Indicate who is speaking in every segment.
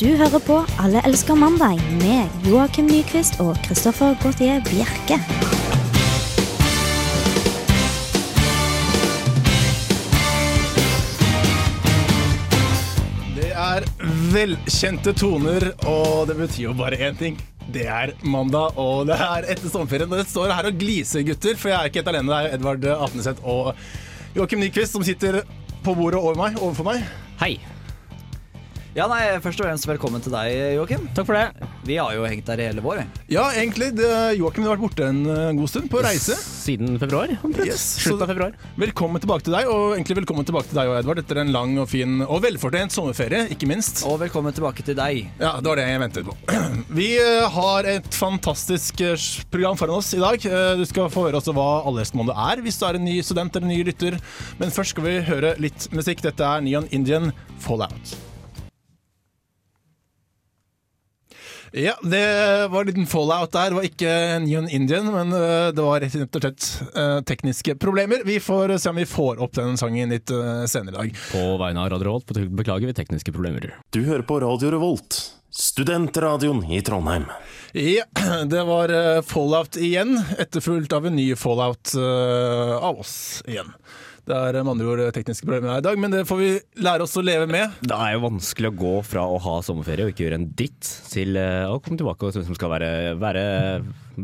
Speaker 1: Du hører på Alle elsker mandag med Joakim Nyquist og Christoffer Gautier Bjerke.
Speaker 2: Det er velkjente toner, og det betyr jo bare én ting. Det er mandag, og det er etter sommerferien. Og det står her og gliser, gutter, for jeg er ikke helt alene. Det er Edvard Apneseth og Joakim Nyquist som sitter på bordet over meg, overfor meg.
Speaker 3: Hei. Ja, nei, Først og fremst velkommen til deg, Joakim.
Speaker 4: Takk for det.
Speaker 3: Vi har jo hengt der i hele vår. vi.
Speaker 2: Ja, egentlig. det- Joakim har vært borte en eh, god stund, på reise.
Speaker 4: Siden februar, omtrent.
Speaker 2: Yes,
Speaker 4: Slutten
Speaker 2: så-
Speaker 4: av februar.
Speaker 2: Velkommen tilbake til deg, og egentlig velkommen tilbake til deg òg, Edvard, etter en lang og fin og velfortjent sommerferie, ikke minst.
Speaker 3: Og velkommen tilbake til deg.
Speaker 2: Ja, det var det jeg ventet på. Vi eh, har et fantastisk eh, program foran oss i dag. Eh, Du skal få høre også hva Allerhestmålet er, hvis du er en ny student eller en ny lytter. Men først skal vi høre litt musikk. Dette er Neon Indian Fallout. Ja, det var en liten fallout der. Det var ikke Neon Indian, men eh, det var rett og slett eh, tekniske problemer. Vi får se om vi får opp den sangen litt eh, senere i dag.
Speaker 4: På vegne av Radio Revolt beklager vi tekniske problemer.
Speaker 5: Du hører på Radio Revolt, studentradioen i Trondheim.
Speaker 2: Ja, det var eh, fallout igjen, etterfulgt av en ny fallout eh, av oss igjen. Det er eh, med andre ord tekniske problemer her i dag, men det får vi lære oss å leve med.
Speaker 4: Det er jo vanskelig å gå fra å ha sommerferie og ikke gjøre en dritt, til eh, å komme tilbake og synes man skal være, være,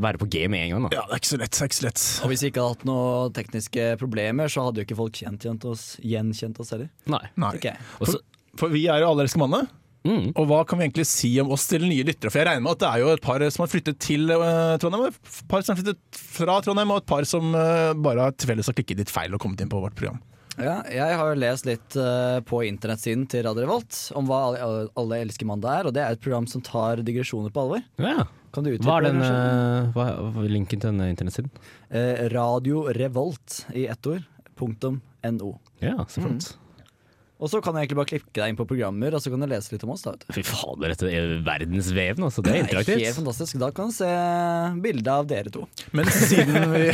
Speaker 4: være på G med en gang. Da.
Speaker 2: Ja, det er ikke så lett. Det er ikke så lett.
Speaker 3: Og hvis vi ikke hadde hatt noen tekniske problemer, så hadde jo ikke folk kjent, kjent oss, gjenkjent oss heller.
Speaker 4: Nei.
Speaker 2: Nei.
Speaker 3: Ok.
Speaker 4: Og så-
Speaker 2: For vi er jo alle elsker mannet.
Speaker 4: Mm.
Speaker 2: Og hva kan vi egentlig si om oss til nye lyttere? For jeg regner med at det er jo et par som har flyttet til eh, Trondheim, og et par som har flyttet fra Trondheim, og et par som eh, bare har til felles har klikket litt feil og kommet inn på vårt program.
Speaker 3: Ja, jeg har jo lest litt eh, på internettsiden til Radio Revolt om hva Alle, alle elsker mandag er, og det er et program som tar digresjoner på alvor.
Speaker 4: Ja.
Speaker 3: Kan du utdype?
Speaker 4: Hva er den,
Speaker 3: kanskje?
Speaker 4: eh, hva hva er linken til denne internettsiden?
Speaker 3: Eh, Radio Revolt i ett ord. Punktum no.
Speaker 4: Ja, så flott.
Speaker 3: Og så kan du egentlig bare klikke deg inn på programmer, og så kan du lese litt om oss. da, vet du.
Speaker 4: Fy fader, dette er verdensveven, altså. Det er
Speaker 3: Det er helt
Speaker 4: interaktivt.
Speaker 3: fantastisk. Da kan du se bilde av dere to.
Speaker 2: Men siden vi,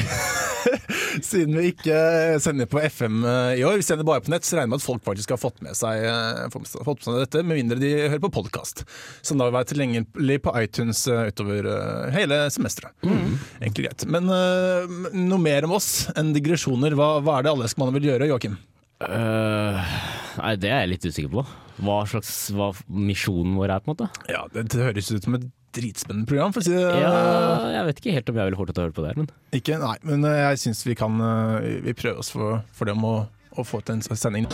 Speaker 2: siden vi ikke sender på FM i år, vi sender bare på nett, så regner jeg med at folk faktisk har fått med seg, eh, fått med seg dette, med mindre de hører på podkast. Som da vil være tilgjengelig på iTunes eh, utover hele semesteret. Egentlig greit. Men eh, noe mer om oss enn digresjoner. Hva, hva er det alle skal man vil gjøre, Joakim?
Speaker 4: Eh, nei, det er jeg litt usikker på. Hva slags hva misjonen vår er, på en måte.
Speaker 2: Ja, det, det høres ut som et dritspennende program, for å si det
Speaker 4: Ja, jeg vet ikke helt om jeg ville fortsatt å høre på det her, men
Speaker 2: ikke. Nei, men eh, jeg syns vi kan eh, vi prøver oss for, for det om å, å få til en sending.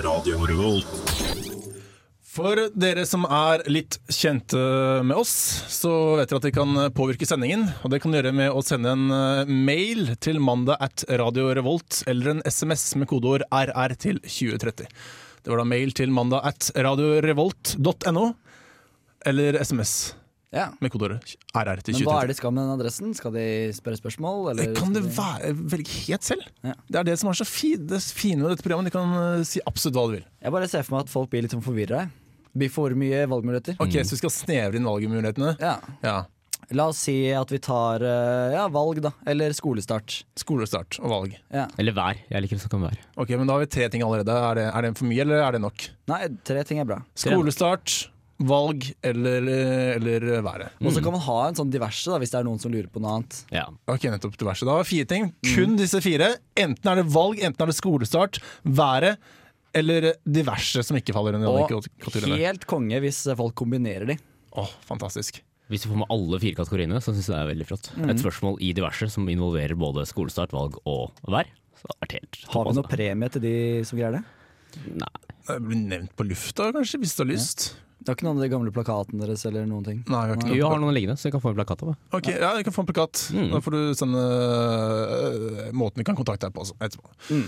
Speaker 5: Radio Revolt.
Speaker 2: For dere som er litt kjente med oss, så vet dere at dere kan påvirke sendingen. Og det kan dere gjøre med å sende en eh, mail til mandag at Radio Revolt, eller en SMS med kodeord RR til 2030. Det var da mail til mandag at radiorevolt.no, eller SMS
Speaker 3: Ja.
Speaker 2: med kodeord RR til
Speaker 3: Men
Speaker 2: 2030.
Speaker 3: hva er det de skal med den adressen? Skal de spørre spørsmål?
Speaker 2: Det
Speaker 3: Eller
Speaker 2: kan det
Speaker 3: skal de-
Speaker 2: være, velge helt selv.
Speaker 3: Ja.
Speaker 2: Det er det som er så fint, det fine med dette programmet. Du kan eh, si absolutt hva du vil.
Speaker 3: Jeg bare ser for meg at folk blir litt sånn forvirra. jeg. Vi får mye valgmuligheter.
Speaker 2: Ok, Så vi skal snevre inn valgmulighetene?
Speaker 3: Mm. Ja.
Speaker 2: Ja.
Speaker 3: La oss si at vi tar eh, ja, valg, da. Eller skolestart.
Speaker 2: Skolestart og valg.
Speaker 3: Ja.
Speaker 4: Eller vær. Jeg liker å snakke om vær.
Speaker 2: Ok, men Da har vi tre ting allerede. Er det, er det for mye, eller er det nok?
Speaker 3: Nei, tre ting er bra.
Speaker 2: Skolestart, valg eller, eller været.
Speaker 3: Og så kan man ha en sånn diverse, da, hvis det er noen som lurer på noe annet.
Speaker 4: Ja.
Speaker 2: Ok, nettopp diverse. Da har vi fire ting. Kun disse fire. Enten er det valg, enten er det skolestart, været eller diverse som ikke faller under
Speaker 3: Og
Speaker 2: alle kategoriene.
Speaker 3: helt konge hvis eh, folk kombinerer de.
Speaker 2: Åh, fantastisk.
Speaker 4: Hvis du får med alle fire kategoriene, så syns jeg det er veldig flott. Et spørsmål i diverse som involverer både skolestart, valg og vær. Så det har vært helt
Speaker 3: Har vi
Speaker 4: topp,
Speaker 3: noe premie til de som greier det?
Speaker 4: altså. Nei.
Speaker 2: Det blir nevnt på lufta, kanskje, hvis du har lyst.
Speaker 3: Det er ikke noen av de gamle plakatene deres eller noen ting.
Speaker 2: Nei, vi har ikke
Speaker 4: Jo,
Speaker 2: noe.
Speaker 4: jeg har noen liggende, så jeg kan få en plakat av det.
Speaker 2: Ok, ja, Du kan få en plakat.
Speaker 4: Mm.
Speaker 2: Da får du sende øh, måten vi kan kontakte deg på også, etterpå.
Speaker 4: Mm.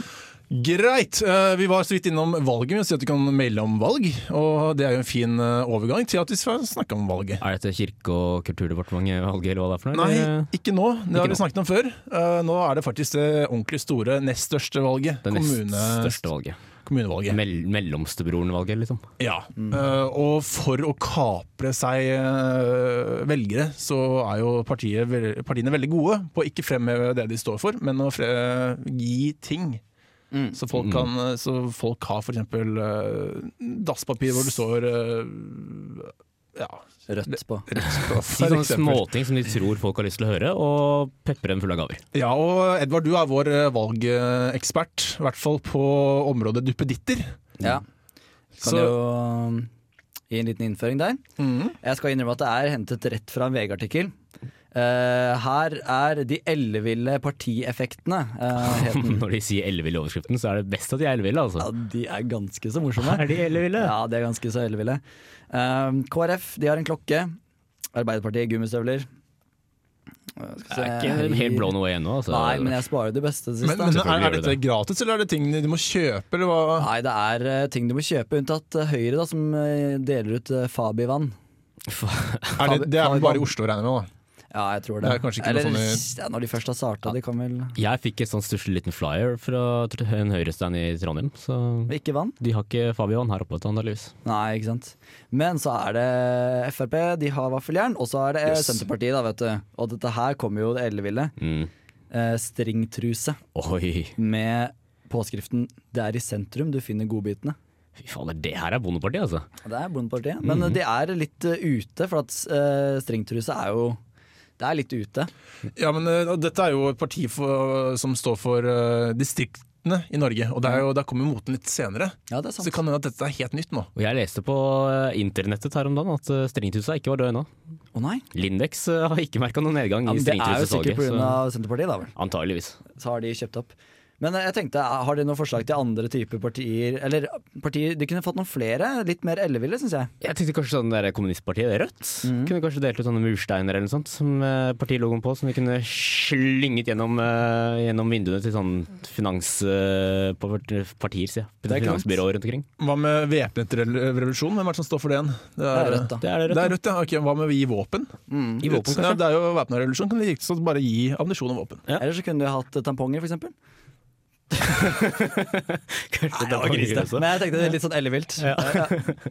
Speaker 2: Greit. øh, vi var så vidt innom valget med å si at du kan maile om valg. Og det er jo en fin øh, overgang til at vi skal snakke om valget.
Speaker 4: Er dette Kirke- og kulturdepartementet valget, eller hva det er for noe?
Speaker 2: Nei,
Speaker 4: eller? eh,
Speaker 2: ikke nå. Det har
Speaker 4: nå.
Speaker 2: vi snakket om før. Eh, nå er det faktisk det ordentlig store, nest største valget.
Speaker 4: Det nest
Speaker 2: Kommune-
Speaker 4: største valget.
Speaker 2: Kommunevalget.
Speaker 4: Mell Mellomstebroren-valget, liksom.
Speaker 2: Ja,
Speaker 3: Mm.
Speaker 2: eh, og for å kapre seg eh, velgere, så er jo partiet, vel- partiene veldig gode på å ikke fremheve det de står for, men å fre gi ting
Speaker 3: Mm.
Speaker 2: Så, folk
Speaker 4: Mm.
Speaker 2: kan, så folk har f.eks. Uh, dasspapir hvor det står eh, ja,
Speaker 3: Rødt på.
Speaker 2: Mm. for
Speaker 4: Si sånne
Speaker 2: eksempel.
Speaker 4: småting som de tror folk har lyst til å høre, og pepre dem full av gaver.
Speaker 2: Ja, og Edvard, du er vår eh, valgekspert, i hvert fall på området duppeditter.
Speaker 3: Ja. Kan
Speaker 2: Så-
Speaker 3: jo um, gi en liten innføring der.
Speaker 4: Mm.
Speaker 3: Jeg skal innrømme at det er hentet rett fra en VG-artikkel. Eh, her er de elleville partieffektene, uh, het den.
Speaker 4: Når de sier elleville i overskriften, så er det best at de er elleville,
Speaker 3: Ja,
Speaker 4: altså.
Speaker 3: de er ganske så morsomme.
Speaker 4: Er de elleville?
Speaker 3: Ja, de er ganske så elleville. Um, KrF, de har en klokke. Arbeiderpartiet, gummistøvler. Uh, skal
Speaker 4: Jeg
Speaker 3: vi se,
Speaker 4: er ikke helt
Speaker 3: Høyre-
Speaker 4: blown away ennå, altså.
Speaker 3: Nei, men jeg sparer det beste til
Speaker 2: Men,
Speaker 3: sist.
Speaker 2: men
Speaker 3: da.
Speaker 2: er,
Speaker 4: Selvfølgelig
Speaker 2: er
Speaker 4: gjør
Speaker 2: dette gratis, eller er det ting du må kjøpe? Eller hva?
Speaker 3: Nei, det er eh, ting du må kjøpe, unntatt eh, Høyre, da, som eh, deler ut eh, Fabi-vann.
Speaker 2: Er det, det er vel bare i Oslo, regner jeg med. da.
Speaker 3: Ja, jeg tror det.
Speaker 2: Det er kanskje ikke noe
Speaker 3: Eller,
Speaker 2: sånn
Speaker 3: ja, når de først har starta, de kan vel
Speaker 4: Jeg fikk et sånn stusslig liten flyer fra tr- en høyrestand i Trondheim, så
Speaker 3: Ikke vann?
Speaker 4: de har ikke Fabian her oppe, antakeligvis.
Speaker 3: Nei, ikke sant. Men så er det Frp, de har vaffeljern. Og så er det eh, Senterpartiet, da, vet du. Og dette her kommer jo det elleville.
Speaker 4: Mm.
Speaker 3: Eh, stringtruse
Speaker 4: Oi,
Speaker 3: med påskriften 'Det er i sentrum du finner godbitene'.
Speaker 4: fy fader, det her er bondepartiet, altså.
Speaker 3: Det er Bondepartiet. Men eh, de er litt eh, ute, for at eh, stringtruse er jo Det er litt ute.
Speaker 2: Ja, men eh, og Dette er jo et parti for, som står for eh, distriktene i Norge, og det er jo, der kommer moten litt senere.
Speaker 3: Ja, det er
Speaker 2: Så
Speaker 3: sant.
Speaker 2: det kan hende at dette er helt nytt nå.
Speaker 4: Og jeg leste på eh, internettet her om dagen at eh, stringtrusa ikke var død ennå.
Speaker 3: Å nei.
Speaker 4: Lindex eh, har ikke merka noen nedgang
Speaker 3: Ja,
Speaker 4: i
Speaker 3: men det er jo sikkert
Speaker 4: stringtrusesalget.
Speaker 3: pga.
Speaker 4: så-
Speaker 3: Senterpartiet, da vel.
Speaker 4: Antageligvis.
Speaker 3: Så har de kjøpt opp. Men eh, jeg tenkte, har de noen forslag til andre typer partier? Eller eh, partier, de kunne fått noen flere. Litt mer elleville, syns jeg.
Speaker 4: Jeg tenkte kanskje sånn der kommunistpartiet, Rødt,
Speaker 3: Mm.
Speaker 4: kunne kanskje delt ut sånne mursteiner eller noe sånt som eh, partilogoen på, som vi kunne slynget gjennom, eh, gjennom vinduene til sånn eh, finanspartier, sier jeg.
Speaker 3: er klart.
Speaker 4: Finansbyråer rundt omkring.
Speaker 2: Hva med væpnet re- revolusjon? Hvem er det som står for det igjen? Det
Speaker 3: Det er Rødt, da. Mm.
Speaker 4: Det er det
Speaker 2: Det
Speaker 4: Rødt.
Speaker 2: er rødt, ja. Ok, hva med å gi våpen?
Speaker 4: I våpen,
Speaker 2: Ja,
Speaker 4: kanskje.
Speaker 2: det er jo væpna revolusjon. Kan det riktig bare gi ammunisjon og våpen?
Speaker 4: Ja.
Speaker 3: Eller så kunne de hatt eh, tamponger, f.eks.
Speaker 4: Kanskje det er
Speaker 3: Nei, jeg var
Speaker 4: grisete.
Speaker 3: grisete. liksom. Men jeg tenkte det er litt sånn ellevilt. Ja.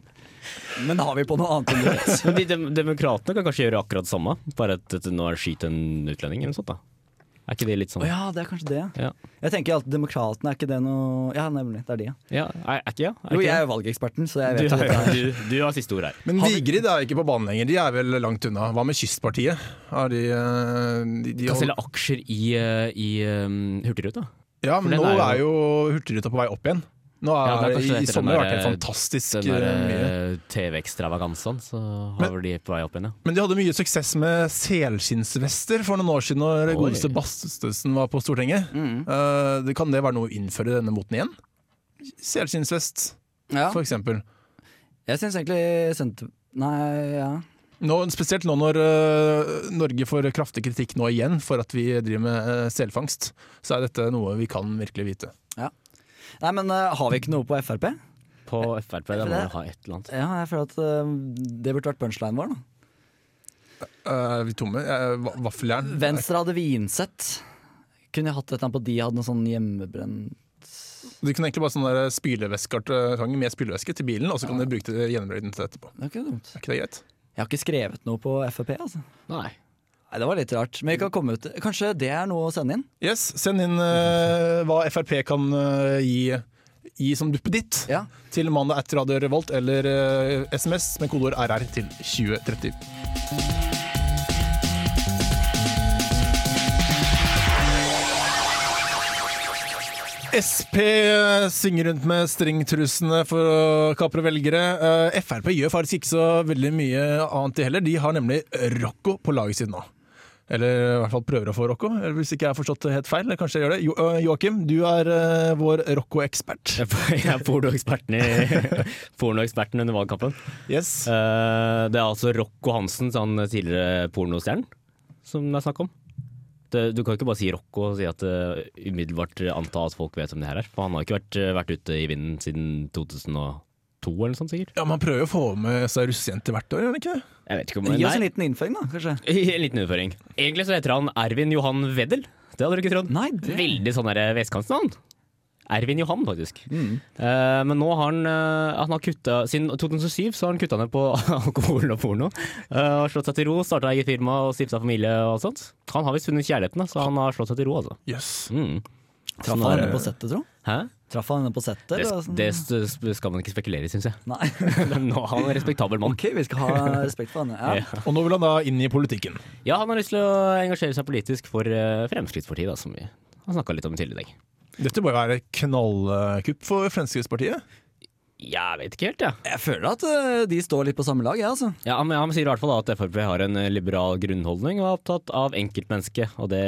Speaker 3: Men har vi på noe annet enn det?
Speaker 4: Men de dem demokratene kan kanskje gjøre akkurat det samme, bare at at nå er det skyt en utlending eller noe sånt. da. Er ikke de litt sånn
Speaker 3: Å ja, det er kanskje det.
Speaker 4: Ja.
Speaker 3: Jeg tenker at demokratene er ikke det noe Ja, nemlig. Det er de, ja.
Speaker 4: Ja, er, er ikke ja? Er
Speaker 3: Jo,
Speaker 4: ikke
Speaker 3: jeg er jo valgeksperten, så jeg
Speaker 4: Du,
Speaker 3: vet jo dette. her.
Speaker 4: du, du har siste ord her.
Speaker 2: Men Vigrid er ikke på banen lenger, de er vel langt unna. Hva med Kystpartiet? Er de, eh, de, de
Speaker 4: Kan selge aksjer i, eh, i um, Hurtigruta.
Speaker 2: Ja, men
Speaker 4: den
Speaker 2: nå
Speaker 4: er
Speaker 2: er jo Hurtigruta på vei opp igjen. Nå
Speaker 4: Ja, det
Speaker 2: er,
Speaker 4: er kanskje
Speaker 2: I
Speaker 4: etter
Speaker 2: sommer har det
Speaker 4: den
Speaker 2: vært
Speaker 4: der-
Speaker 2: helt fantastisk
Speaker 4: Den der
Speaker 2: eh, mye.
Speaker 4: eh, TV-ekstravagansen, så
Speaker 2: Men-
Speaker 4: har vel de på vei opp igjen, ja.
Speaker 2: Men de hadde mye suksess med selskinnsvester for noen år siden når
Speaker 4: Oi.
Speaker 2: godeste Bastøsen var på Stortinget. Eh, det, kan det være noe å innføre denne moten igjen? Selskinnsvest, for
Speaker 3: Ja.
Speaker 2: eksempel.
Speaker 3: Jeg syns egentlig senter... Nei, ja.
Speaker 2: Nå, spesielt nå når eh, Norge får kraftig kritikk nå igjen for at vi driver med eh, selfangst, så er dette noe vi kan virkelig vite.
Speaker 3: Nei, men eh, har vi ikke noe på Frp?
Speaker 4: På Frp, da
Speaker 3: Eh, for
Speaker 4: må
Speaker 3: det-
Speaker 4: du ha et eller annet.
Speaker 3: Ja, jeg føler at eh, det burde vært punchlinen vår, da.
Speaker 2: Eh, Er vi tomme? Eh, va- Vaffeljern?
Speaker 3: Venstre hadde vinsett. Kunne jeg hatt et eller annet på de hadde noe sånn hjemmebrent
Speaker 2: Du kunne egentlig bare sånn der spylevæskekartong med spylevæske til bilen, og så kan du bruke det gjennombrøyten til etterpå.
Speaker 3: Det er ikke dumt.
Speaker 2: Er ikke det greit?
Speaker 3: Jeg har ikke skrevet noe på Frp, altså.
Speaker 4: Nei.
Speaker 3: Nei, Det var litt rart. Men vi kan komme ut Kanskje det er noe å sende inn?
Speaker 2: Yes, send inn eh, hva Frp kan eh, gi, gi som duppeditt
Speaker 3: Ja.
Speaker 2: til mandag etter Radio Revolt eller eh, SMS med kodeord RR til 2030. Sp eh, synger rundt med stringtrusene for å kapre velgere. Eh, Frp gjør faktisk ikke så veldig mye annet de heller. De har nemlig Rocco på laget sitt nå. Eller i hvert fall prøver å få Rocco, eller hvis ikke jeg har forstått det helt feil. eller Kanskje jeg gjør det. Jo, øh, Joakim, du er øh, vår Rocco-ekspert.
Speaker 4: Jeg er pornoeksperten i- pornoeksperten under valgkampen.
Speaker 2: Yes.
Speaker 4: Eh, det er altså Rocco Hansen, sånn tidligere pornostjernen, som det er snakk om. Det, du kan ikke bare si Rocco og si at eh, umiddelbart anta at folk vet hvem det her er. For han har ikke vært, eh, vært ute i vinden siden 2002 eller noe sånt, sikkert.
Speaker 2: Ja, Man prøver jo å få med seg russejenter hvert år, gjør man ikke det?
Speaker 4: Jeg vet ikke
Speaker 3: Gi oss en liten innføring, da, kanskje.
Speaker 4: En liten utføring. Egentlig så heter han Ervin Johan Weddel. Det hadde du ikke trodd.
Speaker 3: Nei, det-
Speaker 4: Veldig sånn der vestkantsnavn. Ervin Johan, faktisk.
Speaker 3: Mm.
Speaker 4: Eh, men nå har han, eh, han har kutta Siden 2007 så har han kutta ned på alkohol og porno. Eh, har slått seg til ro, starta eget firma og stifta familie og sånt. Han har visst funnet kjærligheten, da, så han har slått seg til ro, altså.
Speaker 2: Yes.
Speaker 4: Mm.
Speaker 3: Traff
Speaker 4: Sånn
Speaker 3: han
Speaker 4: er
Speaker 3: henne
Speaker 4: det.
Speaker 3: på settet, tro?
Speaker 4: Hæ?
Speaker 3: Traff han henne på settet?
Speaker 4: Det,
Speaker 3: eller sånn?
Speaker 4: det s- skal man ikke spekulere i, syns jeg.
Speaker 3: Nei.
Speaker 4: Nå, han er en respektabel mann.
Speaker 3: Ok, vi skal ha respekt for han. Ja.
Speaker 4: Ja.
Speaker 2: Og nå vil han da inn i politikken.
Speaker 4: Ja, han har lyst til å engasjere seg politisk for eh, Fremskrittspartiet, da, som vi har snakka litt om tidligere i dag.
Speaker 2: Dette må jo være knallkupp for Fremskrittspartiet.
Speaker 4: Jeg vet ikke helt, jeg. Ja.
Speaker 3: Jeg føler at eh, de står litt på samme lag, jeg, altså.
Speaker 4: Ja, han, han sier i hvert fall da at Frp har en eh, liberal grunnholdning og er opptatt av enkeltmennesket. Og det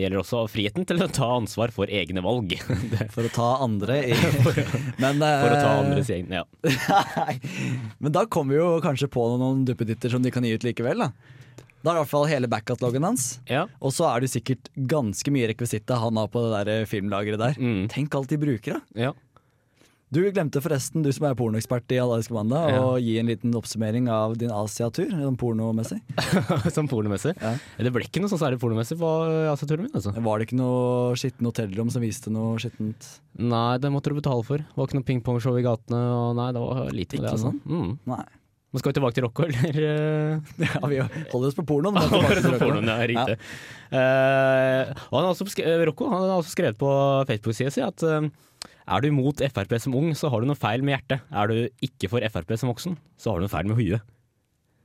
Speaker 4: gjelder også friheten til å ta ansvar for egne valg. Det-
Speaker 3: For å ta andre i Men, eh,
Speaker 4: For å ta andres egne Ja.
Speaker 3: Nei. Men da kommer vi jo kanskje på noen duppeditter som de kan gi ut likevel, da. Da er i hvert fall hele backcataloggen hans.
Speaker 4: ja.
Speaker 3: Og så er det jo sikkert ganske mye rekvisitter han har på det der eh, filmlageret der.
Speaker 4: Mm.
Speaker 3: Tenk alt de bruker, da.
Speaker 4: ja.
Speaker 3: Du glemte forresten, du som er pornoekspert i Alaiske mandag,
Speaker 4: Ja.
Speaker 3: å gi en liten oppsummering av din Asia-tur, sånn pornomessig.
Speaker 4: Som pornomessig.
Speaker 3: Ja.
Speaker 4: Det ble ikke noe sånn særlig pornomessig på AC-turen min, altså.
Speaker 3: Var det ikke noe skittent hotellrom som viste noe skittent?
Speaker 4: Nei, det måtte du betale for. Det var ikke noe pingpongshow i gatene. Og nei, det var lite med
Speaker 3: Ikke
Speaker 4: det, altså.
Speaker 3: sånn?
Speaker 4: Mm.
Speaker 3: Nei.
Speaker 4: Men skal vi tilbake til Rocco, eller? eh?
Speaker 3: Ja, vi holder oss på pornoen. men tilbake til
Speaker 4: Får
Speaker 3: røkeren.
Speaker 4: noen, ja, riktig. Eh, og han har også, sk- eh, Rocco han har også skrevet på Facebook-sida si at eh, er du imot Frp som ung, så har du noe feil med hjertet. Er du ikke for Frp som voksen, så har du noe feil med huet.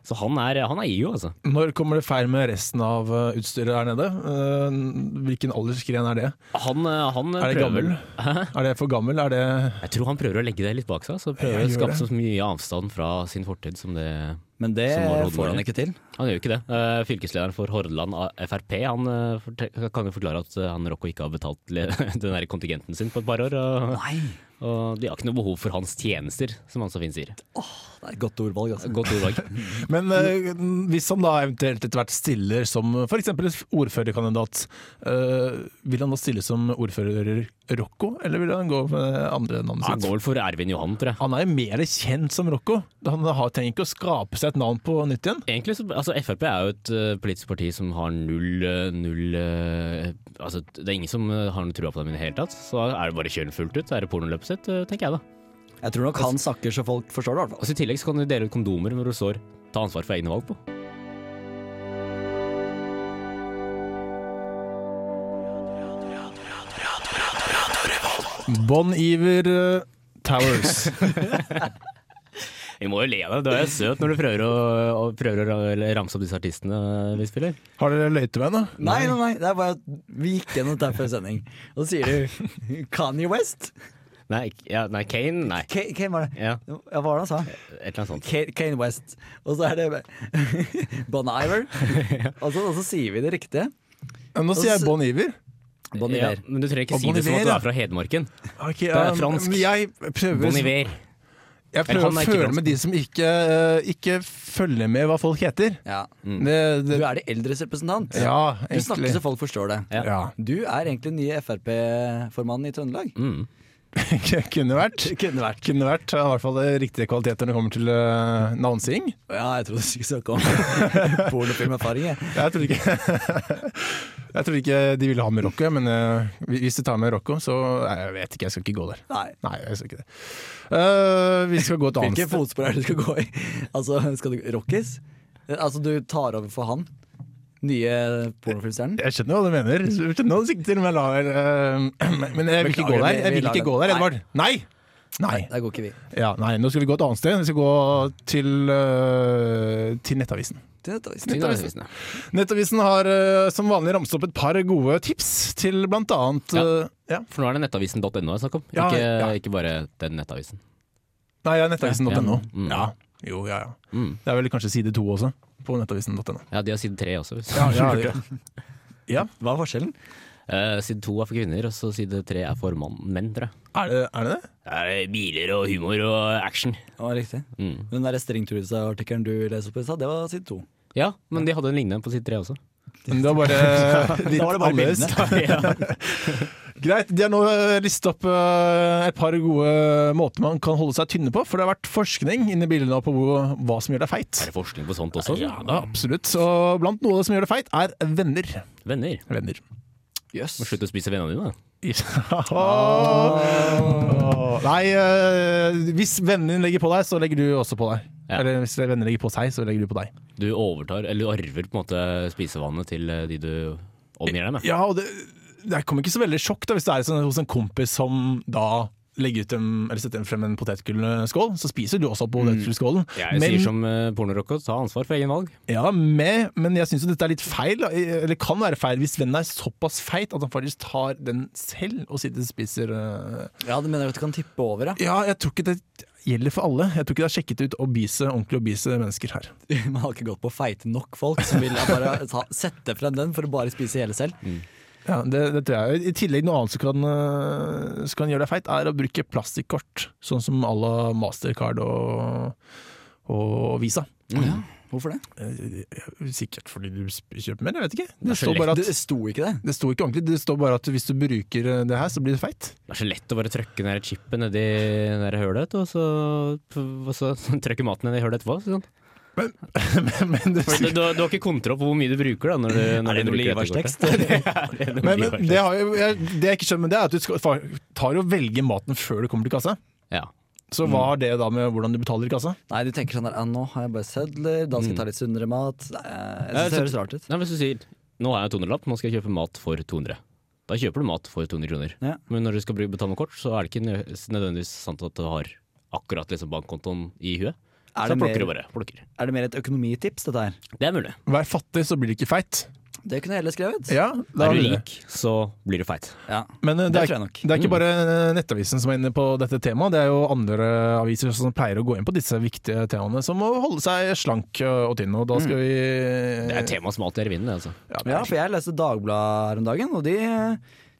Speaker 4: Så han er, han er IO, altså.
Speaker 2: Når kommer det feil med resten av eh, utstyret her nede? Eh, Hvilken aldersgren er det?
Speaker 4: Han, eh, han
Speaker 2: Er det
Speaker 4: prøver-
Speaker 2: gammel?
Speaker 4: Hæ?
Speaker 2: Er det for gammel? Er det
Speaker 4: Jeg tror han prøver å legge det litt bak seg. Så prøver
Speaker 2: Jeg
Speaker 4: å
Speaker 2: gjør
Speaker 4: skape så mye avstand fra sin fortid som det
Speaker 3: Men det
Speaker 4: Som var hodet
Speaker 3: får han
Speaker 4: vårt.
Speaker 3: ikke til.
Speaker 4: Han gjør jo ikke det. Eh, Fylkeslederen for Hordaland A- Frp han eh, forte- kan jo forklare at eh, han Rocco ikke har betalt le- den der kontingenten sin på et par år. Og
Speaker 3: Nei,
Speaker 4: Og de har ikke noe behov for hans tjenester, som han så fint sier.
Speaker 3: det er et godt ordvalg, altså.
Speaker 4: Godt ordvalg.
Speaker 2: Men eh, hvis han da eventuelt etter hvert stiller som f.eks. ordførerkandidat, eh, vil han da stille som ordfører Rocco, eller vil han gå med andre
Speaker 4: Han
Speaker 2: navnet sitt?
Speaker 4: går vel for Ervin Johan, tror jeg.
Speaker 2: Han er jo mer kjent som Rocco. Han har, trenger ikke å skape seg et navn på nytt igjen.
Speaker 4: Egentlig så, altså Frp er jo et eh, politisk parti som har null, eh, null eh, altså Det er ingen som eh, har noe trua på dem i det hele tatt. Så er det bare å kjøre den fullt ut. Da er det pornoløpet sitt, eh, tenker jeg da.
Speaker 3: Jeg tror nok han snakker så folk forstår det, i hvert fall.
Speaker 4: Altså I tillegg så kan du dele ut kondomer når du står 'ta ansvar for egne valg' på.
Speaker 2: Bon Iver eh, Towers.
Speaker 4: Vi må jo le av deg, du er jo søt når du prøver å, å, prøver å ramse opp disse artistene vi spiller.
Speaker 2: Har dere løyet til meg nå?
Speaker 3: Nei, nei, nei, det er bare at vi gikk gjennom dette her før sending. Og så sier du Kanye West?
Speaker 4: Nei, ikke- ja, nei Kane? Nei.
Speaker 3: Ka- Kane var det.
Speaker 4: Ja,
Speaker 3: Ja, hva var det han sa?
Speaker 4: et eller annet sånt.
Speaker 3: Ka- Kane West. Og så er det Bon Iver. Og så, og så sier vi det riktige.
Speaker 2: Ja, Nå sier
Speaker 3: Altså,
Speaker 2: jeg Bon Iver.
Speaker 3: Bon Iver.
Speaker 4: Ja, men du trenger ikke
Speaker 2: Og
Speaker 4: si
Speaker 2: Bon
Speaker 4: det som
Speaker 2: Iver,
Speaker 4: at du
Speaker 2: ja.
Speaker 4: er fra Hedmarken.
Speaker 2: Okay,
Speaker 4: er
Speaker 2: um,
Speaker 4: fransk.
Speaker 2: men Jeg prøver,
Speaker 4: Bon Iver.
Speaker 2: Jeg
Speaker 4: Eller
Speaker 2: prøver
Speaker 4: han er
Speaker 2: å
Speaker 4: ikke
Speaker 2: føle
Speaker 4: fransk.
Speaker 2: med de som ikke, eh, ikke følger med hva folk heter.
Speaker 3: Ja.
Speaker 4: Mm.
Speaker 2: Det,
Speaker 3: Du
Speaker 2: det,
Speaker 3: er de eldres representant.
Speaker 2: ja,
Speaker 3: Du snakker
Speaker 2: egentlig.
Speaker 3: så folk forstår det.
Speaker 4: Ja.
Speaker 2: Ja.
Speaker 3: Du er egentlig den nye Frp-formannen i Trøndelag.
Speaker 4: Mm.
Speaker 2: Kunne vært.
Speaker 3: Kunne vært.
Speaker 2: Kunne vært. Han har i hvert fall riktige kvaliteter når det kommer til uh, navnsying.
Speaker 3: Ja, jeg trodde du skulle snakke om pornofilmerfaring. jeg.
Speaker 2: Jeg tror ikke Jeg tror ikke de ville ha med Rocco, men eh, hvis de tar med Rocco, så Nei, jeg vet ikke, jeg skal ikke gå der.
Speaker 3: Nei.
Speaker 2: Nei, jeg skal ikke det. Eh, vi skal gå et annet
Speaker 3: Hvilke fotspor er det du skal gå i? Altså, skal du Rockies? Altså, du tar over for han? Nye pornofilmstjernen?
Speaker 2: Jeg skjønner hva du mener. Jeg skjønner hva du sikter til, men jeg lar, eh, men jeg vil ikke gå
Speaker 3: Beklager,
Speaker 2: der.
Speaker 3: vi-
Speaker 2: Jeg
Speaker 3: vi
Speaker 2: vil
Speaker 3: lar
Speaker 2: ikke
Speaker 3: den.
Speaker 2: gå der, Edvard. Nei! Nei.
Speaker 3: Der går ikke vi.
Speaker 2: Ja, nei. Nå skal vi gå et annet sted. Vi skal gå til, eh, til Nettavisen.
Speaker 3: Det tar vi
Speaker 4: Det
Speaker 3: snart.
Speaker 4: er avisen, ja.
Speaker 2: Nettavisen har eh, som vanlig ramset opp et par gode tips til blant annet
Speaker 4: Ja.
Speaker 2: eh, ja.
Speaker 4: For nå er det nettavisen.no jeg snakker om,
Speaker 2: Ja,
Speaker 4: ikke,
Speaker 2: ja.
Speaker 4: ikke bare den nettavisen.
Speaker 2: Nei, ja, nettavisen.no.
Speaker 4: Ja,
Speaker 2: Ja,
Speaker 4: ja. Mm.
Speaker 2: Jo, ja, ja.
Speaker 4: Mm.
Speaker 2: Det er vel kanskje side to også, på nettavisen.no.
Speaker 4: Ja, de har side tre også. hvis-
Speaker 2: det-
Speaker 3: Hva er forskjellen?
Speaker 4: Eh, side to er for kvinner, og så side tre er for mann, menn, tror jeg.
Speaker 2: Er, det, er det det?
Speaker 4: Det er eh, biler og humor og action.
Speaker 3: Ja, riktig.
Speaker 4: Mm.
Speaker 3: Den der Stringturisa-artikkelen du leser på i stad, det var side to.
Speaker 4: Ja, men de hadde en lignende på side tre også.
Speaker 2: Men det var bare litt
Speaker 3: Da var det bare
Speaker 2: annerledes. Greit, De har nå listet opp eh, et par gode måter man kan holde seg tynne på. For det har vært forskning inne i bildet nå på hvor, hva som gjør deg feit.
Speaker 4: Er det forskning på sånt også?
Speaker 3: Sånn.
Speaker 2: Ja, da, absolutt. Og blant noe som gjør deg feit, er venner.
Speaker 4: Venner.
Speaker 2: Venner.
Speaker 3: Jøss.
Speaker 4: Må slutte å spise vennene dine, da.
Speaker 2: Åh. Ah. Nei, eh, hvis vennen din legger på deg, så legger du også på deg.
Speaker 4: Ja.
Speaker 2: Eller hvis venner legger på seg, så legger du på deg.
Speaker 4: Du overtar, eller du arver på en måte spisevannet til eh, de du omgir deg med.
Speaker 2: Ja, og det, det kommer ikke så veldig sjokk da, hvis det er sånn, hos en kompis som da legger ut en, eller setter frem en potetgullskål, så spiser du også opp potetgullskålen.
Speaker 4: Jeg
Speaker 2: Men-
Speaker 4: sier som eh, pornorocka, ta ansvar for egen valg.
Speaker 2: Ja, med, men jeg syns jo dette er litt feil, da. eller kan være feil, hvis vennen er såpass feit at han faktisk tar den selv og sitter og spiser øh.
Speaker 3: Ja, du mener at du kan tippe over, ja?
Speaker 2: Ja, jeg tror ikke det gjelder for alle. Jeg tror ikke det er sjekket ut obese, ordentlig obese mennesker her.
Speaker 3: Man har ikke gått på å feite nok folk som vil bare ta, sette frem den for å bare spise hele selv.
Speaker 2: Ja, det, det tror jeg. I tillegg noe annet som kan, øh, som kan gjøre deg feit, er å bruke plastikkort, sånn som à la Mastercard og, og Visa.
Speaker 3: Ja, hvorfor det?
Speaker 2: Eh, Sikkert fordi du sp- kjøper mer, jeg vet ikke. Det
Speaker 4: så
Speaker 2: står bare at
Speaker 3: Det sto ikke det.
Speaker 2: det sto ikke ordentlig, det står bare at hvis du bruker eh, det her, så blir du feit.
Speaker 4: Det er så lett å bare trykke den der chipen nedi det der hølet, og så, og så trykker maten ned i hølet etterpå. Sånn.
Speaker 2: Men det,
Speaker 4: For du, du, du har ikke kontroll på hvor mye du bruker da, når du, når du bruker dette kortet. Det er noe
Speaker 2: Men, men
Speaker 4: Olivers-tekst.
Speaker 2: det, har jo, jeg, det jeg ikke skjønner, det er at du skal, fa- tar og velger maten før du kommer til kassa.
Speaker 4: Ja.
Speaker 2: Så hva har det da med hvordan du betaler i kassa?
Speaker 3: Nei, du tenker sånn der, ja, nå har jeg bare sedler, da skal jeg ta litt sunnere mat. Mm. Nei, jeg
Speaker 4: Ja,
Speaker 3: synes det
Speaker 4: jeg
Speaker 3: høres rart ut.
Speaker 4: Nei, hvis du sier nå har jeg en 200-lapp, nå skal jeg kjøpe mat for 200. Da kjøper du mat for 200 kroner.
Speaker 3: Ja.
Speaker 4: Men når du skal bruke- betale med kort, så er det ikke nø- nødvendigvis sant at du har akkurat liksom bankkontoen i huet.
Speaker 3: Er
Speaker 4: Så
Speaker 3: det,
Speaker 4: plukker du
Speaker 3: mer,
Speaker 4: bare. plukker.
Speaker 3: er det mer et økonomitips, dette her?
Speaker 4: Det er mulig.
Speaker 2: Vær fattig, så blir du ikke feit.
Speaker 3: Det kunne jeg heller skrevet.
Speaker 2: Ja, da
Speaker 4: er du
Speaker 2: blir det.
Speaker 4: rik, så blir du feit.
Speaker 3: Ja.
Speaker 2: Men eh,
Speaker 3: Det
Speaker 2: det
Speaker 3: tror
Speaker 2: er,
Speaker 3: jeg nok. Mm.
Speaker 2: det er ikke bare eh, Nettavisen som er inne på dette temaet, det er jo andre aviser som pleier å gå inn på disse viktige temaene, som å holde seg slank eh, og tynn. Og da
Speaker 3: Mm.
Speaker 2: skal vi
Speaker 4: Det er et tema som alltid er i vinden. det, Altså.
Speaker 3: Ja, for jeg leste Dagbladet her om dagen, og de,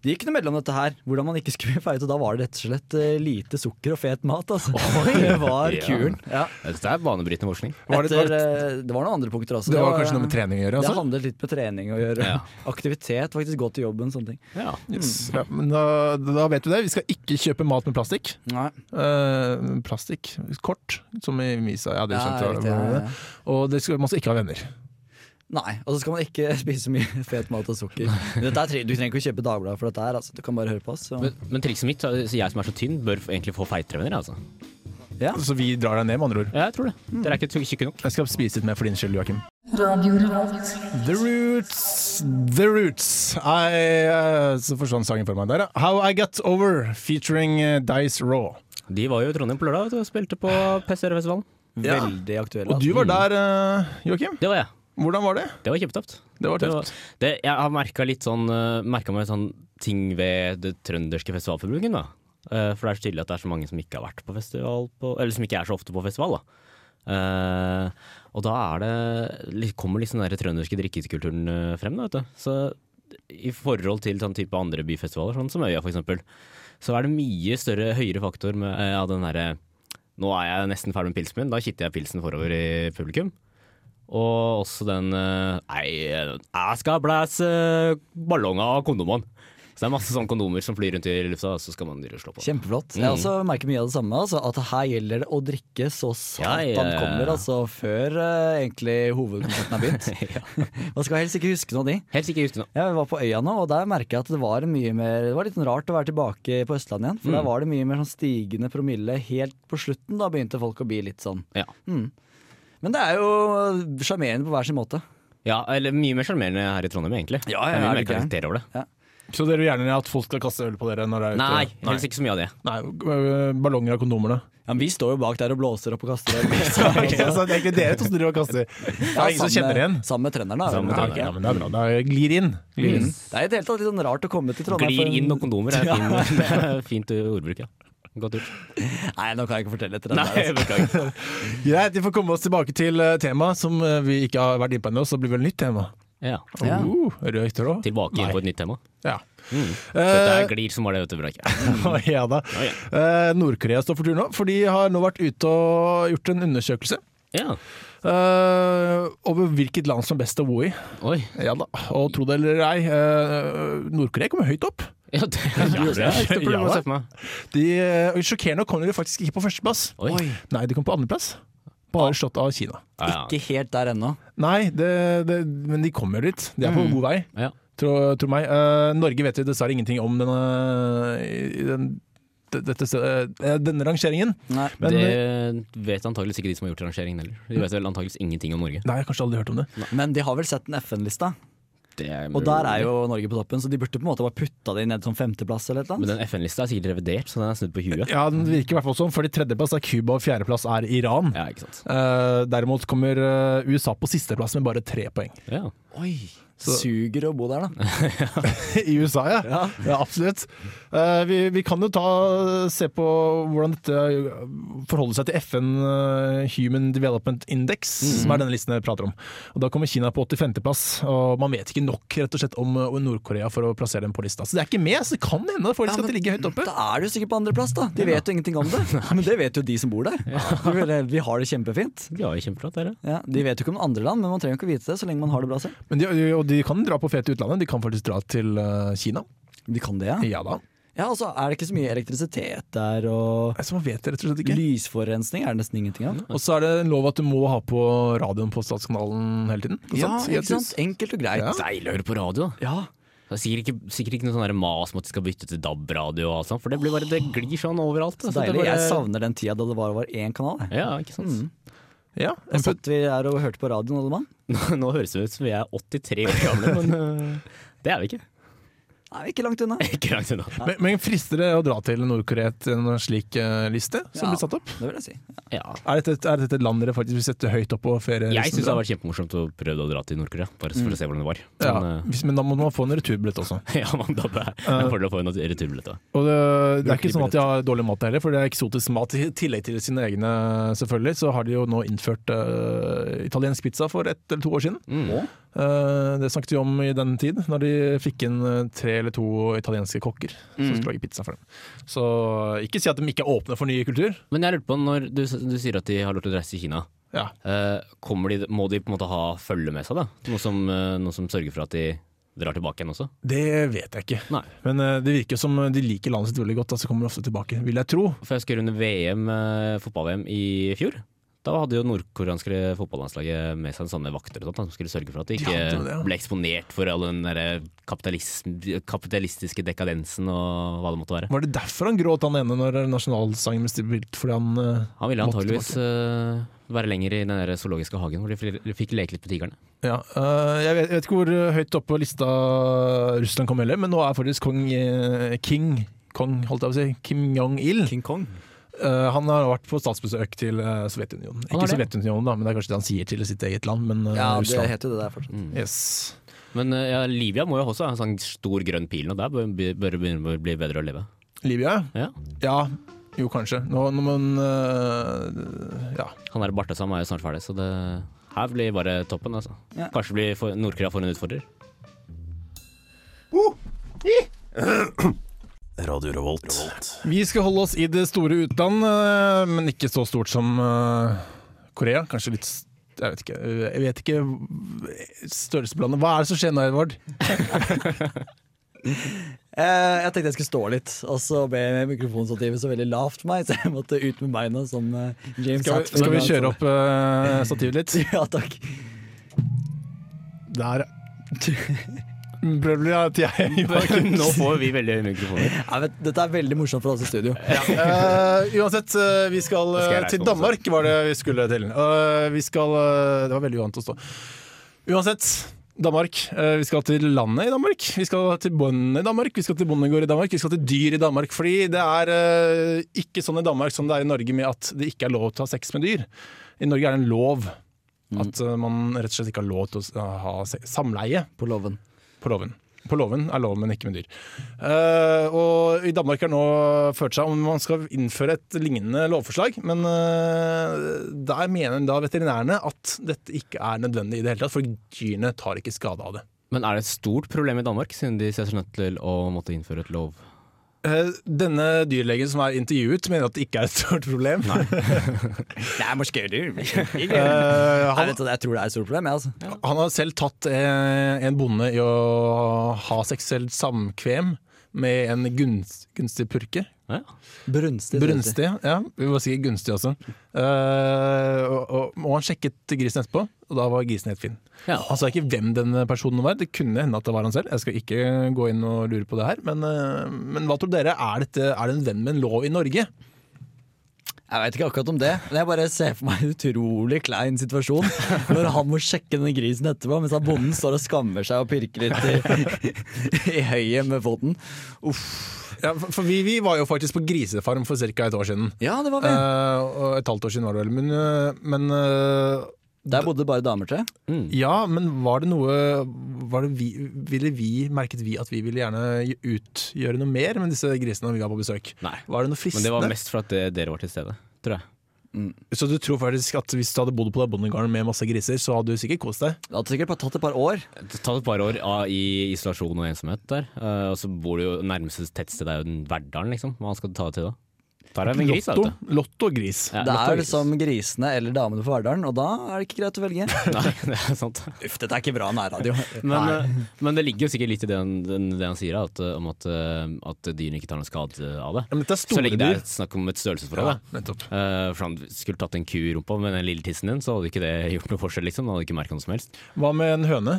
Speaker 3: de gikk noe mellom dette her. Hvordan man ikke skulle bli feit, og da var det rett og slett eh, lite sukker og fet mat, altså. det var
Speaker 4: Ja.
Speaker 3: kuren. Ja.
Speaker 4: Dette er banebrytende forskning.
Speaker 2: Var det-
Speaker 3: Etter, eh, det var noen andre punkter også.
Speaker 2: Det var kanskje noe med trening å gjøre?
Speaker 3: Det
Speaker 2: Altså?
Speaker 3: handlet litt med trening å gjøre.
Speaker 4: Ja.
Speaker 3: Aktivitet, faktisk gå til jobben, sånne ting.
Speaker 4: Ja.
Speaker 2: Yes. Ja, men da, da vet du det. Vi skal ikke kjøpe mat med plastikk.
Speaker 3: Nei.
Speaker 2: Eh, plastikk, kort, som i Misa. Ja, det
Speaker 3: Ja,
Speaker 2: skjønte jeg.
Speaker 3: riktig, ja, ja.
Speaker 2: Og det skal, man skal ikke ha venner.
Speaker 3: Nei, og så skal man ikke spise så mye fet mat og sukker. Dette er, tre- du trenger ikke å kjøpe Dagbladet for dette her, altså. du kan bare høre på oss. Så.
Speaker 4: Men, men trikset mitt, så jeg som er så tynn, bør egentlig få feitere venner. Altså.
Speaker 2: Så vi drar deg ned, med andre ord.
Speaker 4: Ja, jeg tror det. Dere er ikke ty- tjukke nok.
Speaker 2: Jeg skal spise litt mer for din skyld, Joakim.
Speaker 6: Radio Revolt.
Speaker 2: The Roots, The Roots. I, eh, så forsvant sangen for meg der, ja. How I Got Over, featuring eh, Dice Raw.
Speaker 4: De var jo i Trondheim på lørdag vet du, og spilte på Pesserfestivalen.
Speaker 3: Veldig aktuelle.
Speaker 2: Og du var der, eh, Joakim.
Speaker 4: Det var jeg.
Speaker 2: Hvordan var det?
Speaker 4: Det var kjempetøft.
Speaker 2: Det var
Speaker 4: Det
Speaker 2: tøft.
Speaker 4: var, det, jeg har merka litt sånn eh, merket meg sånn ting ved det trønderske festivalforbruken, da. Eh, for det er så tydelig at det er så mange som ikke har vært på festival på, Eller som ikke er så ofte på festival, da. Eh, og da er det litt- kommer liksom den der trønderske drikkekulturen eh, frem, da, vet du. Så i forhold til sånn type andre byfestivaler, sånn som Øya for eksempel, så er det mye større, høyere faktor med eh, av den derre Nå er jeg nesten ferdig med pilsen min, da kitter jeg pilsen forover i publikum. Og også den eh, Nei, jeg skal blæse ballonger av kondomene. Så det er masse sånne kondomer som flyr rundt i lufta, og så skal man drive og slå på.
Speaker 3: Kjempeflott. Jeg også merker mye av det samme. Altså, at her gjelder det å drikke så
Speaker 4: Ja,
Speaker 3: satan
Speaker 4: ja, ja.
Speaker 3: kommer, altså før eh, egentlig hovedkonserten har begynt. Man skal helst ikke huske noe av de.
Speaker 4: Helst ikke huske noe.
Speaker 3: Jeg var på øya nå, og der merker jeg at det var mye mer Det var litt rart å være tilbake på Østlandet igjen. For der var det mye mer sånn stigende promille helt på slutten. Da begynte folk å bli litt sånn.
Speaker 4: Ja.
Speaker 3: Men det er jo sjarmerende på hver sin måte.
Speaker 4: ja, eller mye mer sjarmerende her i Trondheim, egentlig.
Speaker 3: Ja, ja,
Speaker 4: det er
Speaker 3: er
Speaker 4: mye
Speaker 3: det
Speaker 4: mer
Speaker 3: ikke?
Speaker 4: karakter over det.
Speaker 2: Så dere vil gjerne at folk skal kaste øl på dere når dere er ute?
Speaker 4: Nei, helst ikke så mye av det.
Speaker 2: Nei, øh, Ballonger av kondomer, da.
Speaker 3: Ja, men vi står jo bak der og blåser opp og kaster øl.
Speaker 2: Så det er egentlig dere to som driver og kaster. Det er ingen som kjenner igjen.
Speaker 3: Sammen med trønderne.
Speaker 4: Sammen med
Speaker 3: er det
Speaker 2: Ja,
Speaker 4: trønderne.
Speaker 3: vel?
Speaker 2: ja, men det er bra. Det er- glir inn. Glir inn.
Speaker 3: Det er i det hele tatt litt sånn rart å komme til Trondheim. for
Speaker 4: Glir
Speaker 3: en-
Speaker 4: inn og kondomer er fin, det er fint ordbruk, ja. Godt gjort.
Speaker 3: Nei, nå kan jeg ikke fortelle etter den der.
Speaker 4: Nei,
Speaker 3: Altså.
Speaker 4: beklager.
Speaker 2: Greit, vi får komme oss tilbake til eh, temaet som eh, vi ikke har vært inne på ennå, så det blir vel nytt tema.
Speaker 4: Ja.
Speaker 3: Ja.
Speaker 2: Uh, røykt
Speaker 3: altså.
Speaker 2: råd.
Speaker 4: Tilbake inn på et nytt tema.
Speaker 2: Ja.
Speaker 3: Mm.
Speaker 4: Dette
Speaker 2: Eh,
Speaker 4: er glir som var det, vet du. Brak.
Speaker 2: ja da.
Speaker 4: Ja,
Speaker 2: Eh, Nord-Korea står for tur nå, for de har nå vært ute og gjort en undersøkelse
Speaker 4: Ja.
Speaker 2: eh, over hvilket land som er best å bo i.
Speaker 4: Oi.
Speaker 2: Ja da, Og tro det eller ei, eh, Nord-Korea kommer høyt opp.
Speaker 4: Ja, det, ja, det er ikke noe problem å se for meg.
Speaker 2: De, eh, sjokkerende nok kommer de faktisk ikke på førsteplass.
Speaker 4: Oi. Ah.
Speaker 2: Nei, de kom på andreplass. Bare slått av Kina.
Speaker 4: Ja, ja.
Speaker 3: altså. Ikke helt der ennå.
Speaker 2: Nei, det, det, men de kommer jo dit. De er
Speaker 4: Mm.
Speaker 2: på god vei.
Speaker 4: Ja.
Speaker 2: Tro, tro meg. Eh, Norge vet jo dessverre ingenting om denne, i- i den, d- dette, stedet- eh, denne rangeringen.
Speaker 3: Nei.
Speaker 2: Men,
Speaker 3: eh,
Speaker 4: det vet antageligvis ikke de som har gjort rangeringen heller. De vet vel antageligvis ingenting om Norge.
Speaker 2: Nei, jeg har kanskje aldri hørt om det.
Speaker 3: Men de har vel sett den FN-lista?
Speaker 4: Det er
Speaker 3: Og der er jo Norge på toppen, så de burde på en måte bare putta det ned som femteplass eller et eller
Speaker 4: Men
Speaker 3: annet.
Speaker 4: den FN-lista er sikkert revidert, så den er snudd på huet.
Speaker 2: Ja, den virker i hvert fall sånn, fordi tredjeplass er Cuba og fjerdeplass er Iran.
Speaker 4: Ja, ikke sant.
Speaker 2: Eh, derimot kommer eh, USA på sisteplass med bare tre poeng.
Speaker 4: Ja.
Speaker 3: Oi, suger å bo der, da.
Speaker 2: I USA, ja. ja. absolutt. Eh, vi, vi kan jo ta, se på hvordan dette eh, forholder seg til FN eh, Human Development Index, som er denne listen jeg prater om. Og Da kommer Kina på 85.-plass, og man vet ikke nok rett og slett om eh, Nord-Korea for å plassere dem på lista. Så det er ikke med, så det kan hende folk skal til ligge høyt oppe.
Speaker 3: Da er du sikkert på andreplass, da. De vet jo ingenting om det. Men det vet jo de som bor der. Vi- Vi har det kjempefint.
Speaker 4: De har jo kjempeflott, dere.
Speaker 3: Ja, de vet jo ikke om andre land, men man trenger jo ikke vite det så lenge man har det bra selv.
Speaker 2: Men de, og de kan dra på fete utlandet, de kan faktisk dra til eh, Kina.
Speaker 3: De kan det, ja.
Speaker 2: Ja da.
Speaker 3: Ja, altså, Er det ikke så mye elektrisitet der, og
Speaker 2: Så man vet det rett og slett ikke.
Speaker 3: lysforurensning er det nesten ingenting av?
Speaker 2: Og så er det en lov at du må ha på radioen på statskanalen hele tiden.
Speaker 3: Ja,
Speaker 2: I et
Speaker 3: ikke sant?
Speaker 2: hus.
Speaker 3: Enkelt og greit.
Speaker 2: Ja.
Speaker 4: Deilig å høre på radio, da.
Speaker 3: Ja,
Speaker 4: Det er sikkert ikke, sikkert ikke noe sånn der mas om at de skal bytte til DAB-radio og alt sånt, for det blir bare, det glir sånn overalt.
Speaker 3: så
Speaker 4: altså. Det
Speaker 3: deilig.
Speaker 4: bare-
Speaker 3: Jeg savner Mm. den tida da det bare var én kanal. jeg.
Speaker 4: Ja, ikke sant.
Speaker 2: Ja,
Speaker 3: Da satt vi her og hørte på radioen, alle mann.
Speaker 4: Nå, nå høres det ut som vi er 83 år gamle, men øh, det er vi ikke.
Speaker 3: Nei, ikke langt unna.
Speaker 4: Ikke langt unna.
Speaker 2: men, men frister det å dra til Nord-Korea til en slik eh, liste som
Speaker 3: Ja.
Speaker 2: blir satt opp?
Speaker 3: Det vil jeg si.
Speaker 4: Ja.
Speaker 2: Er dette, et- er dette et land dere faktisk vil sette høyt opp på ferielisten?
Speaker 4: Jeg syns det hadde vært kjempemorsomt å prøve å dra til Nord-Korea, bare for å se hvordan det var.
Speaker 2: ja,
Speaker 3: sånn, eh,
Speaker 4: Men, øh,
Speaker 2: hvis- men da må man få en returbillett også.
Speaker 4: ja, man, da bør jeg en fordel å få en returbillett. da.
Speaker 2: Og det, det er ikke sånn at de har dårlig mat heller, for det er eksotisk mat. I tillegg til sine egne, selvfølgelig, så har de jo nå innført eh, italiensk pizza for ett eller to år siden.
Speaker 3: Å?
Speaker 2: Eh, det snakket vi om i den tid, når de fikk inn eh, tre eller to italienske kokker som
Speaker 4: Mm.
Speaker 2: skulle lage pizza for dem. Så eh, ikke si at de ikke er åpne for ny kultur.
Speaker 4: Men jeg lurte på, når du, du sier at de har lov til å reise til Kina,
Speaker 2: Ja.
Speaker 4: øh, kommer de, må de på en måte ha følge med seg? da? Noe som, øh, noe som sørger for at de drar tilbake igjen også?
Speaker 2: Det vet jeg ikke.
Speaker 4: Nei.
Speaker 2: Men eh, det virker som de liker landet sitt veldig godt, da, så kommer de ofte tilbake, vil jeg tro.
Speaker 4: For jeg husker under VM, eh, fotball-VM i fjor. Da hadde jo nordkoreanske fotballandslaget med seg sånne vakter og sånt, da, som skulle sørge for at de ikke
Speaker 2: Ja, det var det, ja.
Speaker 4: ble eksponert for all den der eh, kapitalism- kapitalistiske dekadensen og hva det måtte være.
Speaker 2: Var det derfor han gråt, han ene, når nasjonalsangen ble spilt? Fordi han eh,
Speaker 4: Han ville
Speaker 2: måtte
Speaker 4: antageligvis
Speaker 2: tilbake?
Speaker 4: eh, være lenger i den der zoologiske hagen hvor de fl- fikk leke litt med tigrene.
Speaker 2: Ja, eh, jeg, vet, jeg vet ikke hvor eh, høyt oppe på lista Russland kom heller, men nå er faktisk kong eh, King Kong, holdt jeg på å si, Kim Jong-il.
Speaker 3: King Kong.
Speaker 2: Eh, han har vært på statsbesøk til eh, Sovjetunionen.
Speaker 4: Han
Speaker 2: Ikke
Speaker 4: har det.
Speaker 2: Sovjetunionen, da, men det er kanskje det han sier til sitt eget land, men eh,
Speaker 3: Ja, det
Speaker 2: Russland.
Speaker 3: heter jo det der fortsatt.
Speaker 2: Yes.
Speaker 4: Men eh, ja, Livia må jo også ha en sånn stor grønn pil, og der bør bør- bør det begynne å bli bedre å leve.
Speaker 2: Libya?
Speaker 4: Ja.
Speaker 2: Ja, jo kanskje. Nå, nå men eh, Ja.
Speaker 4: Han der Bartesam er jo snart ferdig, så det her blir bare toppen, altså.
Speaker 3: Ja.
Speaker 4: Kanskje blir for- Nord-Korea får en utfordrer.
Speaker 5: Radio Revolt.
Speaker 2: Vi skal holde oss i det store utland, eh, men ikke så stort som eh, Korea. Kanskje litt s- Jeg vet ikke, eh, jeg vet ikke v- størrelsesblandet. Hva er det som skjer nå, Edvard?
Speaker 3: Eh, jeg tenkte jeg skulle stå litt, og så ble mikrofonstativet så veldig lavt for meg, så jeg måtte ut med beina som eh, James
Speaker 2: Skal vi, skal vi kjøre opp eh, stativet litt?
Speaker 3: Ja, takk.
Speaker 2: Der prøver du at jeg
Speaker 4: Nå får vi veldig høye mikrofoner.
Speaker 3: Nei, vet, dette er veldig morsomt for oss i studio.
Speaker 2: Eh, uansett, eh, vi skal
Speaker 4: Da skal jeg
Speaker 2: eh,
Speaker 4: reise
Speaker 2: til
Speaker 4: meg også.
Speaker 2: Danmark, var det vi skulle til. Eh, vi skal eh, Det var veldig uvant å stå. Uansett, Danmark. Eh, vi skal til landet i Danmark. Vi skal til bøndene i Danmark. Vi skal til bondegård i Danmark. Vi skal til dyr i Danmark. Fordi det er eh, ikke sånn i Danmark som det er i Norge med at det ikke er lov til å ha sex med dyr. I Norge er det en lov at eh, man rett og slett ikke har lov til å s- ha se- samleie
Speaker 3: På låven.
Speaker 2: på låven. På låven er lov, men ikke med dyr. Eh, og I Danmark har nå ført seg om man skal innføre et lignende lovforslag. Men eh, der mener da veterinærene at dette ikke er nødvendig i det hele tatt, for dyrene tar ikke skade av det.
Speaker 4: Men er det et stort problem i Danmark, siden de ser seg nødt til å måtte innføre et lov?
Speaker 2: Eh, denne dyrlegen som er intervjuet, mener at det ikke er et stort problem.
Speaker 3: Det er morske dyr.
Speaker 2: Eh,
Speaker 3: Nei,
Speaker 2: han,
Speaker 3: vet du, jeg tror det er et stort problem, jeg, altså.
Speaker 2: han har selv tatt eh, en bonde i å ha seksuelt samkvem med en gunst, gunstig purke.
Speaker 4: Ja.
Speaker 3: Brunstig. sier de.
Speaker 2: Brunstig, ja. Vi var sikkert gunstig også. Eh, og, og, og han sjekket grisen etterpå, og da var grisen helt fin.
Speaker 4: Ja.
Speaker 2: Han sa ikke hvem den personen var, det kunne hende at det var han selv. Jeg skal ikke gå inn og lure på det her, men, eh, men hva tror dere? Er, dette, er det en venn med en lov i Norge?
Speaker 3: Jeg veit ikke akkurat om det, men jeg bare ser for meg en utrolig klein situasjon. Når han må sjekke denne grisen etterpå, mens han bonden står og skammer seg og pirker litt i, i høyet med foten. Uff.
Speaker 2: Ja, for- for vi, vi var jo faktisk på grisefarm for ca. et år siden.
Speaker 3: Ja, det var vi.
Speaker 2: Eh, og et halvt år siden var det vel. Men, eh, men eh,
Speaker 3: Der bodde bare damer, tror jeg.
Speaker 2: Ja, men var det noe var det vi, Ville vi, merket vi at vi ville gjerne utgjøre noe mer med disse grisene når vi var på besøk?
Speaker 4: Nei.
Speaker 2: Var det noe
Speaker 4: Men
Speaker 2: fristende?
Speaker 4: det var mest for at eh, dere var til stede, tror jeg.
Speaker 2: Så du tror faktisk at hvis du hadde bodd på deg bondegården med masse griser, så hadde du sikkert kost deg?
Speaker 3: Det hadde sikkert bare tatt et par år.
Speaker 4: Det tar et par år av i isolasjon og ensomhet der. eh, og så bor du jo nærmeste tettsted er jo den Verdalen, liksom. Hva skal du ta det til da? Der er det en gris, da,
Speaker 2: Lotto,
Speaker 4: vet du.
Speaker 2: lotto og gris.
Speaker 4: Ja,
Speaker 3: Det
Speaker 4: lotto
Speaker 3: er
Speaker 4: og gris.
Speaker 3: liksom grisene eller damene på Verdalen, og da er det ikke greit å velge.
Speaker 4: Nei, det er sant.
Speaker 3: Uff, dette er ikke bra nærradio.
Speaker 4: Men, eh, men det ligger jo sikkert litt i det han, den- det han sier, da, at, eh, om at, eh, at dyrene ikke tar noen skade av det.
Speaker 2: Ja, men dette er
Speaker 4: Så
Speaker 2: store
Speaker 4: lenge det er
Speaker 2: dyr.
Speaker 4: snakk om et størrelsesforhold.
Speaker 2: Ja,
Speaker 4: da.
Speaker 2: nettopp.
Speaker 4: Eh, for han skulle tatt en ku i rumpa med den lille tissen din, så hadde ikke det gjort noe forskjell, liksom. Han hadde ikke merket noe som helst.
Speaker 2: Hva med en høne?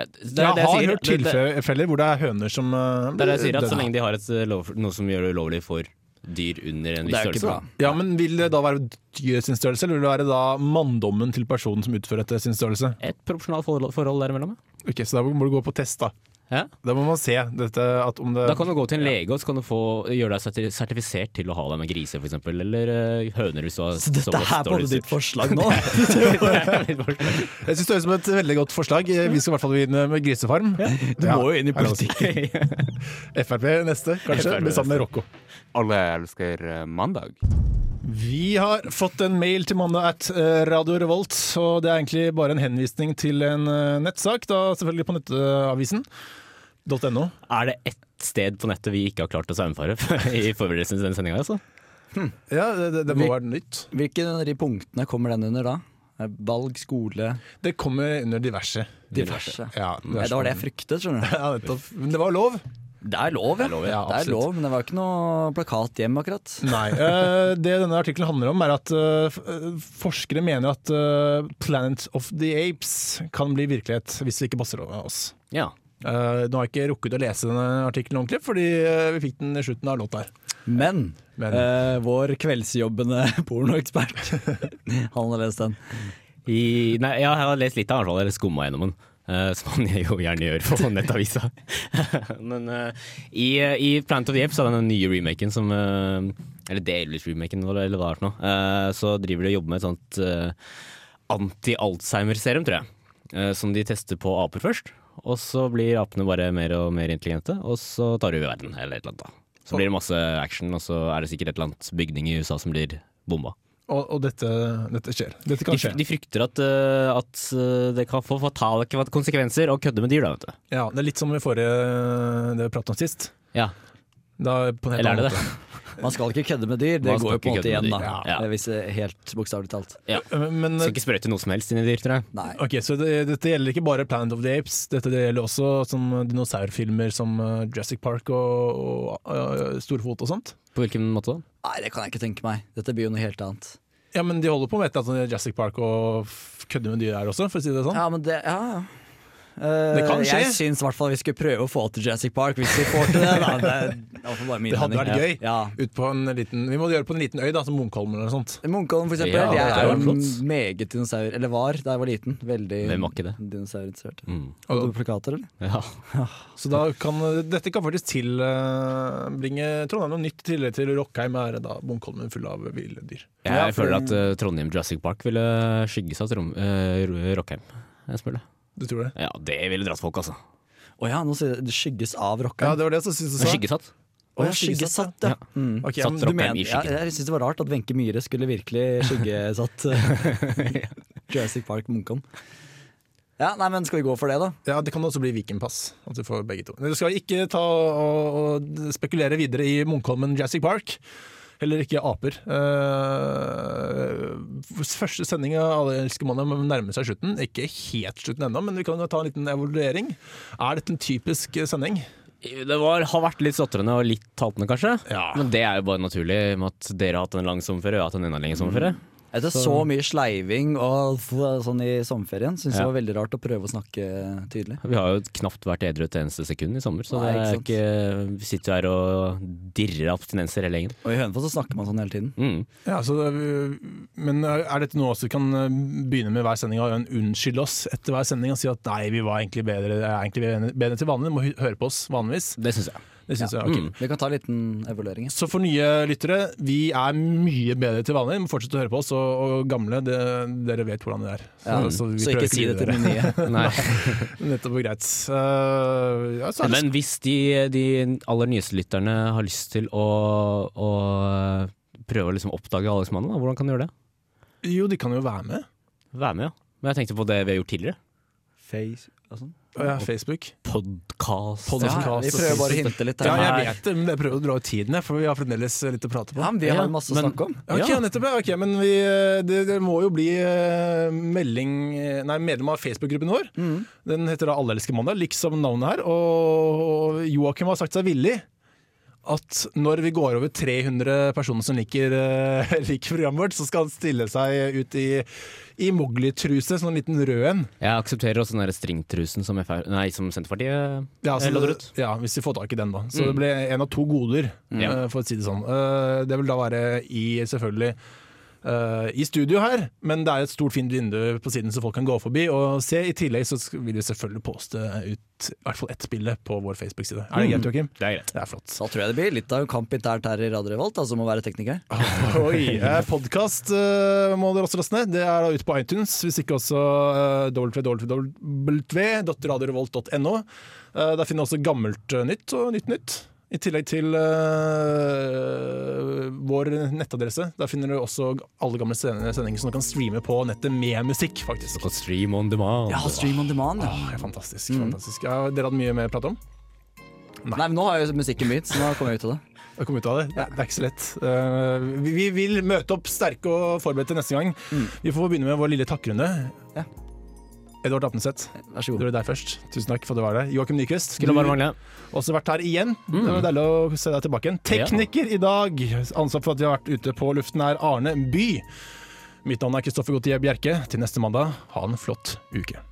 Speaker 4: Ja, det, det,
Speaker 2: Jeg
Speaker 4: det
Speaker 2: har
Speaker 4: sier-
Speaker 2: hørt
Speaker 4: det- det-
Speaker 2: tilfeller hvor det er høner som eh,
Speaker 4: Det er det jeg sier, at
Speaker 2: døde.
Speaker 4: så lenge de har et eh, lov, noe som gjør det ulovlig for dyr under en
Speaker 3: Det
Speaker 4: viss
Speaker 3: er jo ikke
Speaker 4: størrelse.
Speaker 3: bra.
Speaker 4: da.
Speaker 2: Ja, men Vil det da være dyret sin størrelse, eller vil det være da manndommen til personen som utfører dette, sin størrelse?
Speaker 4: Et proporsjonalt forhold, forhold derimellom.
Speaker 2: Ok, Så da må du gå på test, da.
Speaker 4: Ja.
Speaker 2: Da må man se dette, at om det
Speaker 4: Da kan du gå til en lege og så kan du få, gjøre deg serti- sertifisert til å ha deg med griser f.eks. Eller eh, høner hvis du har
Speaker 3: Så dette
Speaker 4: såpass
Speaker 3: er
Speaker 4: dårlig
Speaker 3: både ditt
Speaker 4: størrelse.
Speaker 3: forslag nå.
Speaker 2: Jeg synes det høres ut som et veldig godt forslag. Vi skal i hvert fall begynne med grisefarm.
Speaker 3: Du må jo inn i politikken.
Speaker 2: Frp neste, kanskje.
Speaker 4: FrP
Speaker 2: Blir sammen med Rocco.
Speaker 6: Alle elsker eh, mandag.
Speaker 2: Vi har fått en mail til mandag at eh, Radio Revolt, og det er egentlig bare en henvisning til en eh, nettsak, da selvfølgelig på nettavisen. .no.
Speaker 4: Er det ett sted på nettet vi ikke har klart å saumfare i forberedelsen til den sendinga? Altså?
Speaker 2: Ja, det, det, det må være nytt.
Speaker 3: Hvilke av de punktene kommer den under da? Er Valg, skole,
Speaker 2: Det kommer under diverse.
Speaker 3: diverse.
Speaker 2: Ja,
Speaker 3: Nei, det var det jeg fryktet, skjønner du.
Speaker 2: Ja, nettopp. Men det var lov.
Speaker 3: Det er lov, ja.
Speaker 2: ja,
Speaker 3: det er
Speaker 2: absolutt.
Speaker 3: lov men det var ikke noe plakat hjem, akkurat.
Speaker 2: Nei. eh, det denne artikkelen handler om, er at eh, f- eh, forskere mener at eh, Planet of the Apes kan bli virkelighet hvis vi ikke passer over oss.
Speaker 4: Ja.
Speaker 2: Eh, nå har jeg ikke rukket å lese denne artikkelen ordentlig, fordi eh, vi fikk den i slutten av låta her.
Speaker 3: Men,
Speaker 2: Men-
Speaker 3: eh, vår kveldsjobbende pornoekspert, han har lest den.
Speaker 4: I, nei, ja, jeg har lest litt av den, i hvert fall, eller skumma gjennom den. eh, som man jo gjerne gjør på nettavisa. Men eh, i, i Planet of the Apes, da, den nye remaken som eh, Eller delvis-remaken, eller eller hva det er for noe. eh, så driver de og jobber med et sånt eh, anti-Alzheimer-serum, tror jeg. eh, som de tester på aper først. Og så blir apene bare mer og mer intelligente, og så tar de over verden, eller et eller annet. da. Så blir det masse action, og så er det sikkert et eller annet bygning i USA som blir bomba.
Speaker 2: Og, og dette, dette skjer. Dette
Speaker 4: De,
Speaker 2: kan skje.
Speaker 4: fr- de frykter at, eh, at eh, det kan få fatale k- konsekvenser å kødde med dyr, da, vet du.
Speaker 2: Ja, det er litt som i forrige det vi pratet om sist.
Speaker 4: Ja,
Speaker 2: Da, på en helt
Speaker 4: Eller er det
Speaker 2: annen
Speaker 3: Man skal ikke kødde med dyr, det
Speaker 4: Man skal
Speaker 3: går jo på en
Speaker 4: ikke
Speaker 3: måte
Speaker 4: kødde
Speaker 3: igjen
Speaker 4: med
Speaker 3: da.
Speaker 4: dyr, ja.
Speaker 3: Eh, Hvis, eh, helt bokstavelig talt.
Speaker 2: måte. Men,
Speaker 4: Skal ikke sprøyte noe som helst inn i dyr, tror jeg.
Speaker 3: Nei.
Speaker 2: ok, så det, dette gjelder ikke bare Planet of the Apes, dette gjelder også som dinosaurfilmer som eh, Jurassic Park og, og eh, Storfot og sånt.
Speaker 4: På hvilken måte da?
Speaker 3: Nei, det kan jeg ikke tenke meg. Dette blir jo noe helt annet.
Speaker 2: Ja, men de holder på med et eller annet Jurassic Park og f- kødder med dyr her også, for å si det sånn.
Speaker 3: Ja, men det Ja, ja. Eh,
Speaker 2: Det kan skje.
Speaker 3: Jeg syns i hvert fall vi skulle prøve å få til Jurassic Park, hvis vi får til det. Da. Det, er, i hvert fall bare min
Speaker 2: Det hadde
Speaker 3: mening.
Speaker 2: vært gøy.
Speaker 3: Ja.
Speaker 2: Ut på en liten, vi må gjøre det på en liten øy, da, som Munkholmen eller noe sånt.
Speaker 3: Munkholm, for eksempel.
Speaker 4: Ja, det
Speaker 3: jeg
Speaker 4: hadde
Speaker 3: er
Speaker 4: vært
Speaker 3: jo en
Speaker 4: flott.
Speaker 3: meget dinosaur, eller var da jeg var liten. Veldig
Speaker 4: Hvem var ikke det?
Speaker 3: dinosaurinteressert. Hadde
Speaker 2: Og,
Speaker 3: du plakater, eller?
Speaker 4: Ja.
Speaker 2: Så da kan, dette kan faktisk tilbringe Trondheim noe nytt. I tillegg til Rockheim er da Munkholmen full av ville dyr.
Speaker 4: Jeg
Speaker 3: Ja, for-
Speaker 4: føler at eh, Trondheim Jurassic Park ville skygges av Trom eh, Ro- Rockheim. Jeg spør det.
Speaker 2: Du tror det?
Speaker 4: Ja, det ville dratt folk, altså.
Speaker 3: Å ja, nå sier det det skygges av
Speaker 2: Ja,
Speaker 3: rockeren.
Speaker 2: det var det som synes du sa.
Speaker 4: Skyggesatt.
Speaker 3: Å ja,
Speaker 2: skyggesatt,
Speaker 3: skyggesatt, ja. Mm.
Speaker 2: Ok, men
Speaker 4: Satt rock.
Speaker 3: Du
Speaker 2: du,
Speaker 4: Rockheim
Speaker 3: mener,
Speaker 4: i
Speaker 3: ja,
Speaker 4: skyggen.
Speaker 3: jeg syns det var rart at Wenche Myhre skulle virkelig skyggesatt eh, Jurassic Park Munkholm. Ja, nei, men skal vi gå for det, da?
Speaker 2: ja, det kan også bli Vikingpass. At du får begge to. Men du skal ikke ta og, og spekulere videre i Munkholmen Jurassic Park. Heller ikke aper. Eh, første sending av Alle elsker mandag nærmer seg slutten. Ikke helt slutten ennå, men vi kan jo ta en liten evaluering. Er dette en typisk eh, sending?
Speaker 4: Det var, har vært litt sotrende og litt haltende, kanskje.
Speaker 2: Ja.
Speaker 4: Mm. Men det er jo bare naturlig med at dere har hatt en lang sommerferie, og jeg har hatt en enda lengre sommerferie.
Speaker 3: Etter så, mye sleiving og f- sånn i sommerferien, syns jeg
Speaker 4: Ja.
Speaker 3: det var veldig rart å prøve å snakke tydelig.
Speaker 4: Vi har jo knapt vært edru et eneste sekund i sommer, så
Speaker 3: Nei,
Speaker 4: det er
Speaker 3: ikke
Speaker 4: ikke, vi sitter jo her og dirrer av abstinenser hele gjengen.
Speaker 3: Og i Hønefoss så snakker man sånn hele tiden.
Speaker 4: Mm.
Speaker 2: Ja, så det, men er dette noe også vi kan eh, begynne med hver sending og unnskylde oss etter hver sending og si at nei, vi var egentlig bedre, er egentlig bedre- bedre til vanlig, du må hø- høre på oss vanligvis.
Speaker 4: Det syns jeg.
Speaker 2: Det synes jeg er ok.
Speaker 4: Mm.
Speaker 3: Vi kan ta en liten evaluering. ja.
Speaker 2: Så for nye lyttere, vi er mye bedre til vanlig, men fortsett å høre på oss, og, og gamle, det, dere vet hvordan det er.
Speaker 3: Ja. Mm. Så,
Speaker 2: vi prøver
Speaker 3: ikke si det
Speaker 2: å
Speaker 3: til
Speaker 2: lure
Speaker 3: de nye.
Speaker 4: Mm. Nei.
Speaker 2: dere. Nettopp og greit. Eh, ja, så er det
Speaker 4: Men hvis de, de aller nyeste lytterne har lyst til å, å prøve å liksom oppdage Aleksmannen, da, hvordan kan de gjøre det?
Speaker 2: Jo, de kan jo være med.
Speaker 4: Være med, ja. Men jeg tenkte på det vi har gjort tidligere.
Speaker 3: Face og sånn.
Speaker 2: Ja, Facebook.
Speaker 4: Podcast.
Speaker 2: Podcast.
Speaker 3: Ja, vi prøver bare å hinte litt. her.
Speaker 2: Ja, jeg vet det, men jeg prøver å dra ut tiden, jeg, for vi har fremdeles litt å prate på.
Speaker 3: Ja, men vi har
Speaker 4: Ja,
Speaker 3: masse å
Speaker 4: men-
Speaker 3: snakke om.
Speaker 2: Ok,
Speaker 4: Ja.
Speaker 2: ja. nettopp. Ja. Ok, men vi, det, det må jo bli eh, melding eh, Nei, medlem av Facebook-gruppen vår. Den heter da Alle elsker mandag, liksom navnet her. Og Joakim har sagt seg villig at når vi går over 300 personer som liker, eh, liker programmet vårt, så skal han stille seg ut i, i Mowgli-truse, sånn liten rød en.
Speaker 4: Jeg aksepterer også den der stringtrusen som, FR, nei, som Senterpartiet
Speaker 2: Ja, så
Speaker 4: eh, lodder ut. Mm.
Speaker 2: det- ja, hvis vi får tak i den, da. Så det ble en av to goder, eh, for å si det sånn. Eh, det vil da være i, selvfølgelig eh, i studio her, men det er et stort, fint vindu på siden så folk kan gå forbi og se. I tillegg så sk- vil vi selvfølgelig poste ut i hvert fall ett bilde på vår Facebook-side.
Speaker 4: Mm.
Speaker 2: Er det greit, Joakim?
Speaker 4: Det er greit.
Speaker 2: Det er flott.
Speaker 3: Da tror jeg det blir litt av en kamp internt her i Radio Revolt, altså om å være tekniker.
Speaker 2: Oi, eh, Podkast eh, må dere også laste ned. Det er da ute på iTunes. Hvis ikke også eh, www.radiorevolt.no. Eh, Der finner du også gammelt eh, nytt og nytt nytt. I tillegg til eh, vår nettadresse. Der finner du også alle gamle sen- sendinger som du kan streame på nettet med musikk, faktisk.
Speaker 4: Og stream on demand.
Speaker 3: Ja, stream on demand. Ja.
Speaker 2: Ah, ja, fantastisk. fantastisk. Ja, dere hadde mye mer å prate om?
Speaker 3: Nei, men nå har jo musikken begynt, så nå kommer jeg ut av det.
Speaker 2: å komme ut av det. Det det er ikke så lett. Eh, vi, vi vil møte opp sterke og forberedte neste gang. Vi får begynne med vår lille takkrunde.
Speaker 3: Mm. Ja.
Speaker 2: Edvard Apneseth,
Speaker 3: Vær så
Speaker 2: du
Speaker 3: god.
Speaker 2: er deg først. Tusen takk for at du var der. Joakim Nyquist, du
Speaker 4: Skulle bare
Speaker 2: har
Speaker 4: mangle.
Speaker 2: også vært her igjen.
Speaker 3: Mm.
Speaker 2: Det var deilig å se deg tilbake igjen. Tekniker i dag, ansvar for at vi har vært ute på luften, er Arne By. Mitt navn er Kristoffer Gautier Bjerke. Til neste mandag, ha en flott uke.